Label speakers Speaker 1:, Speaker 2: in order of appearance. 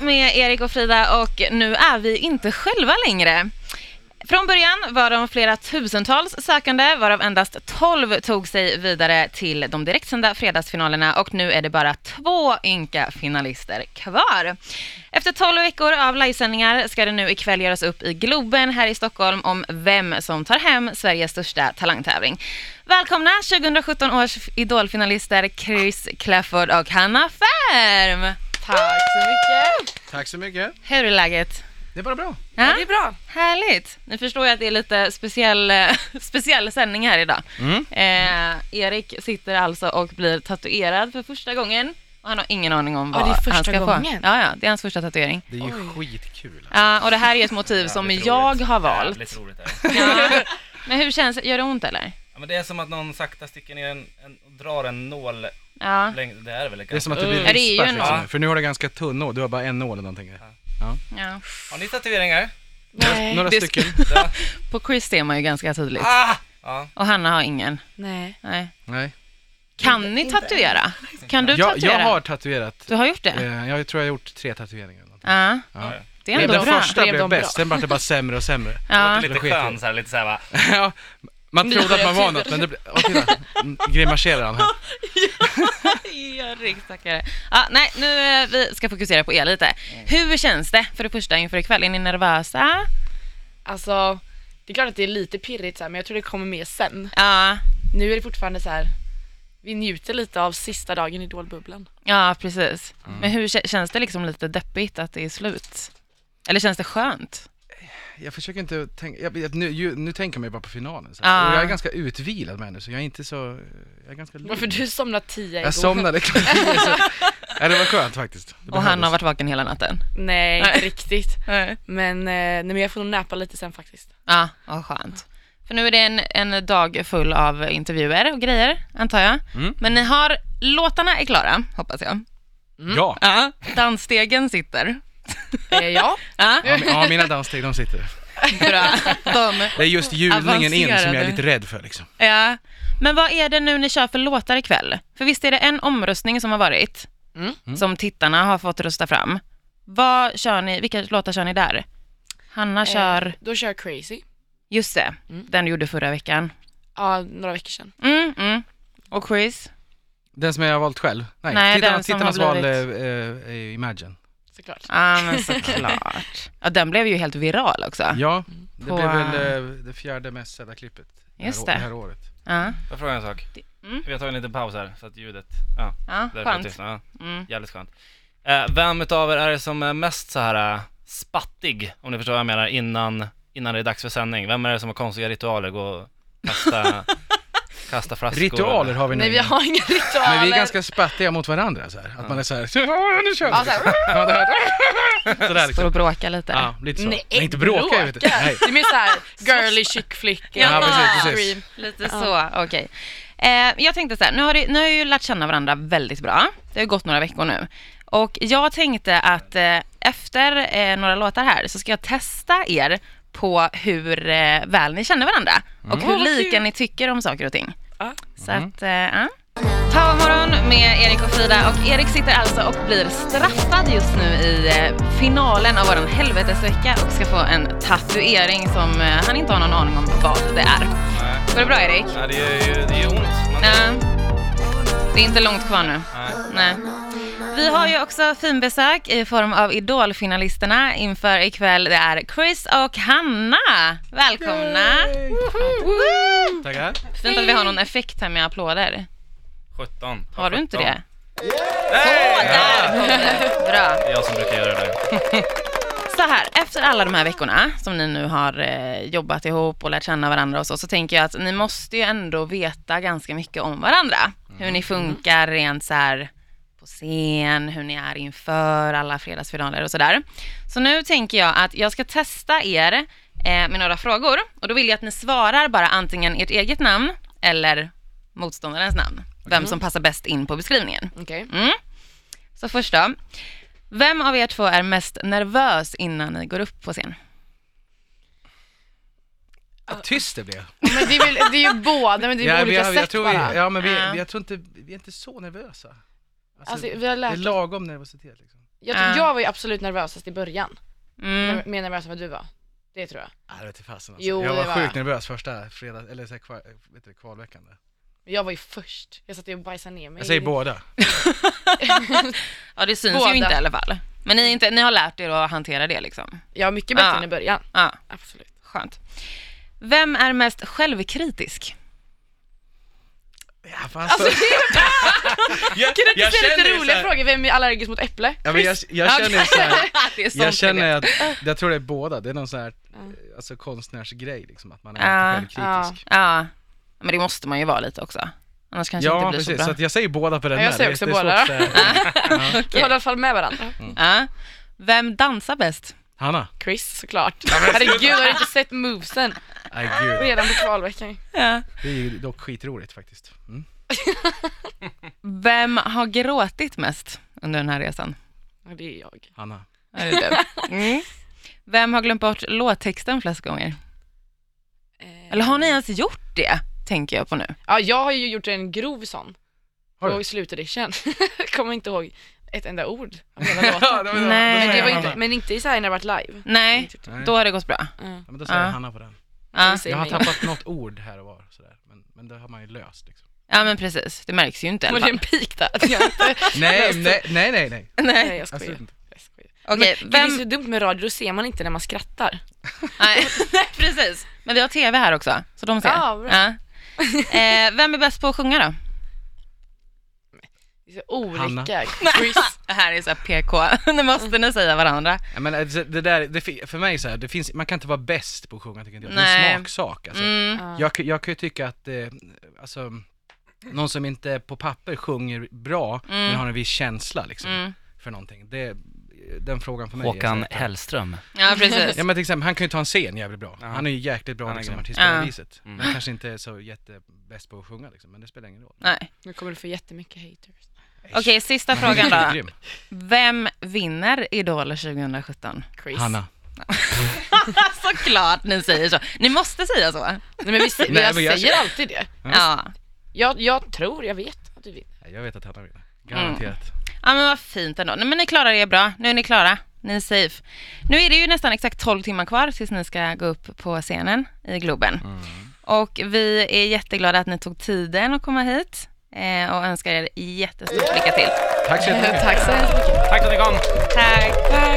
Speaker 1: med Erik och Frida och nu är vi inte själva längre. Från början var de flera tusentals sökande varav endast 12 tog sig vidare till de direktsända fredagsfinalerna och nu är det bara två ynka finalister kvar. Efter 12 veckor av livesändningar ska det nu ikväll göras upp i Globen här i Stockholm om vem som tar hem Sveriges största talangtävling. Välkomna 2017 års idolfinalister Chris Clafford och Hanna Färm!
Speaker 2: Tack så mycket.
Speaker 3: Tack så mycket.
Speaker 1: Hur är läget?
Speaker 3: Det är bara bra.
Speaker 1: Ja?
Speaker 2: Det är bra.
Speaker 1: Härligt! Ni förstår ju att det är lite speciell, eh, speciell sändning här idag.
Speaker 3: Mm.
Speaker 1: Eh, Erik sitter alltså och blir tatuerad för första gången. Och han har ingen aning om
Speaker 2: Ja,
Speaker 1: vad
Speaker 2: det är första
Speaker 1: han ska
Speaker 2: gången.
Speaker 1: få. Ja, ja, det är hans första tatuering.
Speaker 3: Det är ju skitkul.
Speaker 1: Ja, och det här är ett motiv som
Speaker 4: Jävligt
Speaker 1: jag
Speaker 4: roligt.
Speaker 1: har valt.
Speaker 4: Jävligt roligt är det.
Speaker 1: Ja. Men hur känns det? Gör det ont eller?
Speaker 4: Ja, men det är som att någon sakta sticker ner en, en och drar en nål
Speaker 1: Ah. Ja,
Speaker 4: längre. Det är väl
Speaker 3: Det är
Speaker 4: ganska...
Speaker 3: som att du blir
Speaker 1: Ja, det är ju
Speaker 3: vispar,
Speaker 1: en-
Speaker 3: liksom.
Speaker 4: Ja.
Speaker 3: För nu har du ganska tunn nål, du har bara en nål eller någonting.
Speaker 1: ja.
Speaker 4: Har ni tatueringar?
Speaker 2: Nej.
Speaker 3: Några
Speaker 1: Det-
Speaker 3: stycken.
Speaker 4: Ja.
Speaker 1: På Chris ser man ju ganska tydligt.
Speaker 4: Ah! Ja.
Speaker 1: Och Hanna har ingen.
Speaker 2: Nej.
Speaker 1: Nej.
Speaker 3: Nej.
Speaker 1: Kan ni tatuera? Kan du
Speaker 3: Jag,
Speaker 1: tatuera?
Speaker 3: jag har tatuerat.
Speaker 1: Du har gjort det?
Speaker 3: Eh, Jag tror jag har gjort tre tatueringar. eller någonting.
Speaker 1: Ja.
Speaker 3: Ja.
Speaker 1: Det är ändå
Speaker 3: den
Speaker 1: bra.
Speaker 3: första
Speaker 2: Blev
Speaker 3: blev
Speaker 2: de
Speaker 3: bäst,
Speaker 2: bra?
Speaker 3: sen vart det bara sämre och sämre.
Speaker 1: Ja.
Speaker 3: Det
Speaker 4: Låter lite
Speaker 3: skiter
Speaker 4: skön så här, lite så här va.
Speaker 3: Ja, man
Speaker 2: Nu
Speaker 3: trodde att man
Speaker 2: börjar
Speaker 3: var något, men det blev... Åh, titta. Mm, Grimaserar han här.
Speaker 1: Erik stackare. Ja, nej, nu eh, vi ska fokusera på er lite.
Speaker 3: Mm.
Speaker 1: Hur känns det för det första inför ikväll? Är ni nervösa?
Speaker 2: Alltså, det är klart att det är lite pirrigt så här, men jag tror det kommer mer sen.
Speaker 1: Ja,
Speaker 2: Nu är det fortfarande så här, vi njuter lite av sista dagen i Idolbubblan.
Speaker 1: ja precis.
Speaker 3: Mm.
Speaker 1: Men hur kä- känns det liksom lite deppigt att det är slut? Eller känns det skönt?
Speaker 3: Jag försöker inte tänka, jag, vet- nu, ju, nu tänker man ju bara på finalen. Så.
Speaker 1: Ja.
Speaker 3: Och jag är ganska utvilad människa, så jag är inte så, jag är ganska lugn.
Speaker 2: Varför du somnade tio igår?
Speaker 3: Jag somnade klockan tio, så... ja, det var skönt faktiskt. Det
Speaker 1: Och han
Speaker 3: behövdes.
Speaker 1: har varit vaken hela natten?
Speaker 2: Nej, inte
Speaker 1: Nej.
Speaker 2: riktigt.
Speaker 1: Nej.
Speaker 2: Men, eh, nej, men jag får nog näpa lite sen faktiskt.
Speaker 1: Ja, vad skönt. För nu är det en, en dag full av intervjuer och grejer, antar jag.
Speaker 3: Mm.
Speaker 1: Men ni har, låtarna är klara, hoppas jag.
Speaker 3: Ja,
Speaker 1: Ja. Dansstegen sitter.
Speaker 2: Eh, ja,
Speaker 1: Ja,
Speaker 3: ja, men- ja, mina danssteg de sitter.
Speaker 1: bra. De
Speaker 3: Det är just hjulningen in som jag är
Speaker 1: Avancerade.
Speaker 3: lite rädd för liksom.
Speaker 1: Ja. Men vad är det nu ni kör för låtar ikväll? För visst är det en omröstning som har varit,
Speaker 2: Mm.
Speaker 1: som tittarna har fått rösta fram. Vad kör ni, vilka låtar kör ni där? Hanna kör,
Speaker 2: då kör jag Crazy.
Speaker 1: just det,
Speaker 2: Mm.
Speaker 1: den du gjorde förra veckan.
Speaker 2: Ja, några veckor sedan.
Speaker 1: Mm, mm. Och Chris?
Speaker 3: Den som jag har valt själv? Nej,
Speaker 1: Nej, den som
Speaker 3: tittarna, tittarnas
Speaker 1: har
Speaker 3: val eh, eh, är Imagine.
Speaker 2: Såklart.
Speaker 1: Ja, men såklart. Ja, den blev ju helt viral också.
Speaker 3: Ja, det
Speaker 1: På,
Speaker 3: blev väl eh, det fjärde mest sedda klippet
Speaker 1: Just
Speaker 3: det. Här, å-
Speaker 1: det.
Speaker 3: det här året.
Speaker 1: Ja,
Speaker 4: Får jag fråga en sak?
Speaker 1: mm.
Speaker 4: Vi har tagit en liten paus här så att ljudet... Ja,
Speaker 1: ja
Speaker 4: därför är det
Speaker 1: skönt.
Speaker 4: tyst. Ja,
Speaker 1: Mm.
Speaker 4: jävligt skönt. Eh, vem utav er är det som är mest så här eh, spattig, om ni förstår vad jag menar, innan, innan det är dags för sändning? Vem är det som har konstiga ritualer? Gå och kasta, kasta flaskor?
Speaker 3: Ritualer har vi nog
Speaker 2: Nej, vi
Speaker 3: inga.
Speaker 2: har inga ritualer.
Speaker 3: Men vi är ganska spattiga mot varandra så här. Att man är så här, "Ja, nu kör vi!
Speaker 2: Ja, så här.
Speaker 3: Ja, det här. Sådär
Speaker 1: Står och
Speaker 3: liksom.
Speaker 1: bråkar lite.
Speaker 3: Ja, lite så.
Speaker 2: Nej,
Speaker 3: Men inte bråka, jag vet inte. Nej.
Speaker 2: Det är mer såhär girly chick flick.
Speaker 1: Ja,
Speaker 3: precis, precis.
Speaker 2: Scream.
Speaker 1: Lite så, okej. Eh, jag tänkte så här, nu har, det, nu har jag ju lärt känna varandra väldigt bra. Det har ju gått några veckor nu. Och jag tänkte att eh, efter eh, några låtar här så ska jag testa er på hur eh, väl ni känner varandra och
Speaker 2: Åh,
Speaker 1: hur
Speaker 2: Mm. vad
Speaker 1: lika
Speaker 2: kul. Mm.
Speaker 1: ni tycker om saker och ting.
Speaker 2: Ja.
Speaker 1: Så att, eh, ja. Ta morgon med Erik och Frida och Erik sitter alltså och blir straffad just nu i eh, finalen av våran helvetesvecka och ska få en tatuering som eh, han inte har någon aning om vad det är.
Speaker 4: Nej.
Speaker 1: Går det bra Erik?
Speaker 4: Nej, det är ju det är ju ont. Man,
Speaker 1: Nej. Det är inte långt kvar nu.
Speaker 4: Nej.
Speaker 1: Nej. Vi har ju också finbesök i form av idolfinalisterna inför ikväll. Det är Chris och Hanna. Välkomna! Woo!
Speaker 3: Tackar.
Speaker 1: Fint att vi har någon effekt här med applåder.
Speaker 4: 17.
Speaker 1: Har du inte
Speaker 4: 17.
Speaker 1: det? Åh, där kom det. Bra.
Speaker 4: Det är jag som brukar göra det.
Speaker 1: Så här, efter alla de här veckorna som ni nu har eh, jobbat ihop och lärt känna varandra och så, så tänker jag att ni måste ju ändå veta ganska mycket om varandra. Hur ni funkar rent så här på scen, hur ni är inför alla fredagsfinaler och sådär. Så nu tänker jag att jag ska testa er eh, med några frågor och då vill jag att ni svarar bara antingen ert eget namn eller motståndarens namn. Vem som passar bäst in på beskrivningen.
Speaker 2: Okej.
Speaker 1: Mm. Så först då. Vem av er två är mest nervös innan ni går upp på scen?
Speaker 3: Vad tyst det blev.
Speaker 2: Men det är, väl, det är ju båda, men det är på
Speaker 3: Ja, vi,
Speaker 2: olika
Speaker 3: har-
Speaker 2: sätt
Speaker 3: jag tror
Speaker 2: bara.
Speaker 3: vi, ja, men vi,
Speaker 1: Ja.
Speaker 3: jag tror inte, vi är inte så nervösa. Alltså,
Speaker 2: Alltså, vi har
Speaker 3: det är
Speaker 2: lärt oss.
Speaker 3: lagom nervositet liksom.
Speaker 2: Jag,
Speaker 1: Ja.
Speaker 2: jag var ju absolut nervösast i början.
Speaker 1: Mm.
Speaker 2: Nerv- Mer nervös än vad du var. Det tror jag.
Speaker 3: Ja, det vete fasen alltså.
Speaker 2: Jo,
Speaker 3: Jag
Speaker 2: det
Speaker 3: var
Speaker 2: var
Speaker 3: sjukt
Speaker 2: jag.
Speaker 3: nervös första fredag, eller så här, kvar, vet du, kvalveckan där.
Speaker 2: Men jag var ju först. Jag satt ju och bajsade ner mig.
Speaker 3: Jag säger båda.
Speaker 1: Ja, det syns
Speaker 2: Båda.
Speaker 1: ju inte i alla fall. Men ni, är inte, ni har lärt er att hantera det liksom?
Speaker 2: Ja, mycket bättre
Speaker 1: Ja.
Speaker 2: än i början.
Speaker 1: Ja,
Speaker 2: Absolut.
Speaker 1: skönt. Vem är mest självkritisk?
Speaker 3: Ja, fan,
Speaker 2: Alltså,
Speaker 3: så-
Speaker 4: Jag,
Speaker 2: Kan du inte ställa lite
Speaker 4: ju så
Speaker 2: roliga
Speaker 4: här-
Speaker 2: frågor? Vem är allergisk mot äpple?
Speaker 3: ja, men jag, jag känner ju så här,
Speaker 1: det är sånt ni
Speaker 3: jag
Speaker 1: vet.
Speaker 3: känner att, jag tror det är båda, det är någon sån här, eh, alltså konstnärsgrej liksom, att man
Speaker 1: Ja.
Speaker 3: är lite självkritisk.
Speaker 1: Ja, men det måste man ju vara lite också. Annars kanske det
Speaker 3: Ja,
Speaker 1: inte blir
Speaker 3: precis,
Speaker 1: så
Speaker 3: så
Speaker 1: bra.
Speaker 3: att jag säger båda på den
Speaker 2: Ja, jag
Speaker 3: där.
Speaker 2: säger
Speaker 3: Det-
Speaker 2: också
Speaker 3: det är svårt
Speaker 2: båda.
Speaker 3: att säga. Ja.
Speaker 2: Vi håller i alla fall med varandra.
Speaker 1: Ja. Vem dansar bäst?
Speaker 3: Hanna?
Speaker 2: Chris såklart. Herregud, har du inte sett movesen?
Speaker 3: Nej gud,
Speaker 2: Redan på kvalveckan.
Speaker 1: Ja.
Speaker 3: det är ju dock skitroligt faktiskt. Mm.
Speaker 1: Vem har gråtit mest under den här resan?
Speaker 2: Ja, det är jag.
Speaker 3: Hanna.
Speaker 1: Är det du? Mm. Vem har glömt bort låttexten flest gånger?
Speaker 2: Eh,
Speaker 1: Eller har ni ens gjort det? Tänker jag på nu.
Speaker 2: Ja, jag har ju gjort en grov sån.
Speaker 3: Har du?
Speaker 2: På slutedition. Kommer inte ihåg ett enda ord av hela låten.
Speaker 3: Ja, det var- då
Speaker 1: Nej.
Speaker 3: säger
Speaker 2: Men, det
Speaker 3: jag
Speaker 2: var inte,
Speaker 3: Hanna.
Speaker 2: men inte i så här när det varit live.
Speaker 1: Nej,
Speaker 3: Nej.
Speaker 1: då har det gått bra.
Speaker 2: Ja.
Speaker 3: Ja, men då säger
Speaker 1: Ja.
Speaker 3: jag Hanna på den.
Speaker 1: Ja,
Speaker 2: Säg
Speaker 3: Jag har
Speaker 2: mig.
Speaker 3: tappat något ord här och var, sådär. Men, men det har man ju löst liksom.
Speaker 1: ja men precis. Det märks ju inte i
Speaker 2: Var
Speaker 1: alla
Speaker 2: det en
Speaker 1: fall.
Speaker 2: pik där? Att jag inte...
Speaker 3: Nej, nej, nej, nej, Alltså, nej.
Speaker 2: Nej, jag
Speaker 3: Absolut
Speaker 2: skojar.
Speaker 3: inte.
Speaker 2: Jag skojar.
Speaker 1: Okej,
Speaker 2: Men, Det är så
Speaker 1: vem...
Speaker 2: dumt med radio, då ser man inte när man skrattar.
Speaker 1: Nej, precis. Men vi har tv här också, så de ser.
Speaker 2: Ja, bra.
Speaker 1: Ja. Eh, vem är bäst på att sjunga då?
Speaker 2: Det är så
Speaker 3: Hanna.
Speaker 2: olika. Chris.
Speaker 1: Det här är så här PK, nu måste ni säga varandra.
Speaker 3: Ja, men alltså, det där, det, fi- för mig så här, det finns, man kan inte vara bäst på att sjunga tycker inte jag. Det är
Speaker 1: Nej.
Speaker 3: en smaksak alltså.
Speaker 1: Mm.
Speaker 2: Ja.
Speaker 3: Jag, kan- jag kan ju tycka att, eh, alltså, någon som inte på papper sjunger bra, men har en viss känsla liksom,
Speaker 1: Mm.
Speaker 3: för någonting. Det, den frågan för mig är så
Speaker 4: Håkan
Speaker 3: här-
Speaker 4: Hellström.
Speaker 1: Ja, precis.
Speaker 3: Ja men till exempel, han kan ju ta en scen jävligt bra.
Speaker 4: Ja.
Speaker 3: Han är ju jäkligt bra
Speaker 4: Han är
Speaker 3: liksom,
Speaker 4: grym.
Speaker 3: artist
Speaker 4: Mm.
Speaker 3: på det
Speaker 1: Ja.
Speaker 3: viset. Men kanske inte är så jättebäst på att sjunga liksom, men det spelar ingen roll.
Speaker 1: Nej.
Speaker 2: Nu kommer du få jättemycket haters.
Speaker 1: Okej, sista
Speaker 3: Men han är
Speaker 1: frågan
Speaker 3: riktigt
Speaker 1: då.
Speaker 3: grym.
Speaker 1: Vem vinner Idol 2017?
Speaker 2: Chris.
Speaker 3: Hanna.
Speaker 1: Såklart ni säger så. Ni måste säga så.
Speaker 2: Nej men vi, se-
Speaker 3: Nej,
Speaker 2: jag,
Speaker 3: men jag-
Speaker 2: säger alltid det.
Speaker 1: Ja.
Speaker 2: Jag, jag tror, jag vet att du vinner.
Speaker 3: Nej, Jag vet att Hanna
Speaker 1: Mm.
Speaker 3: vinner. Garanterat.
Speaker 1: ja, men vad fint ändå. Nej, men ni klarar er bra. Nu är ni klara. Ni är safe. Nu är det ju nästan exakt 12 timmar kvar tills ni ska gå upp på scenen i Globen. Och vi är jätteglada att ni tog tiden att komma hit eh, och önskar er jättestort lycka till.
Speaker 3: Tack så jättemycket.
Speaker 2: Eh, Tack så hemskt mycket.
Speaker 4: Tack för att ni kom!
Speaker 1: Tack.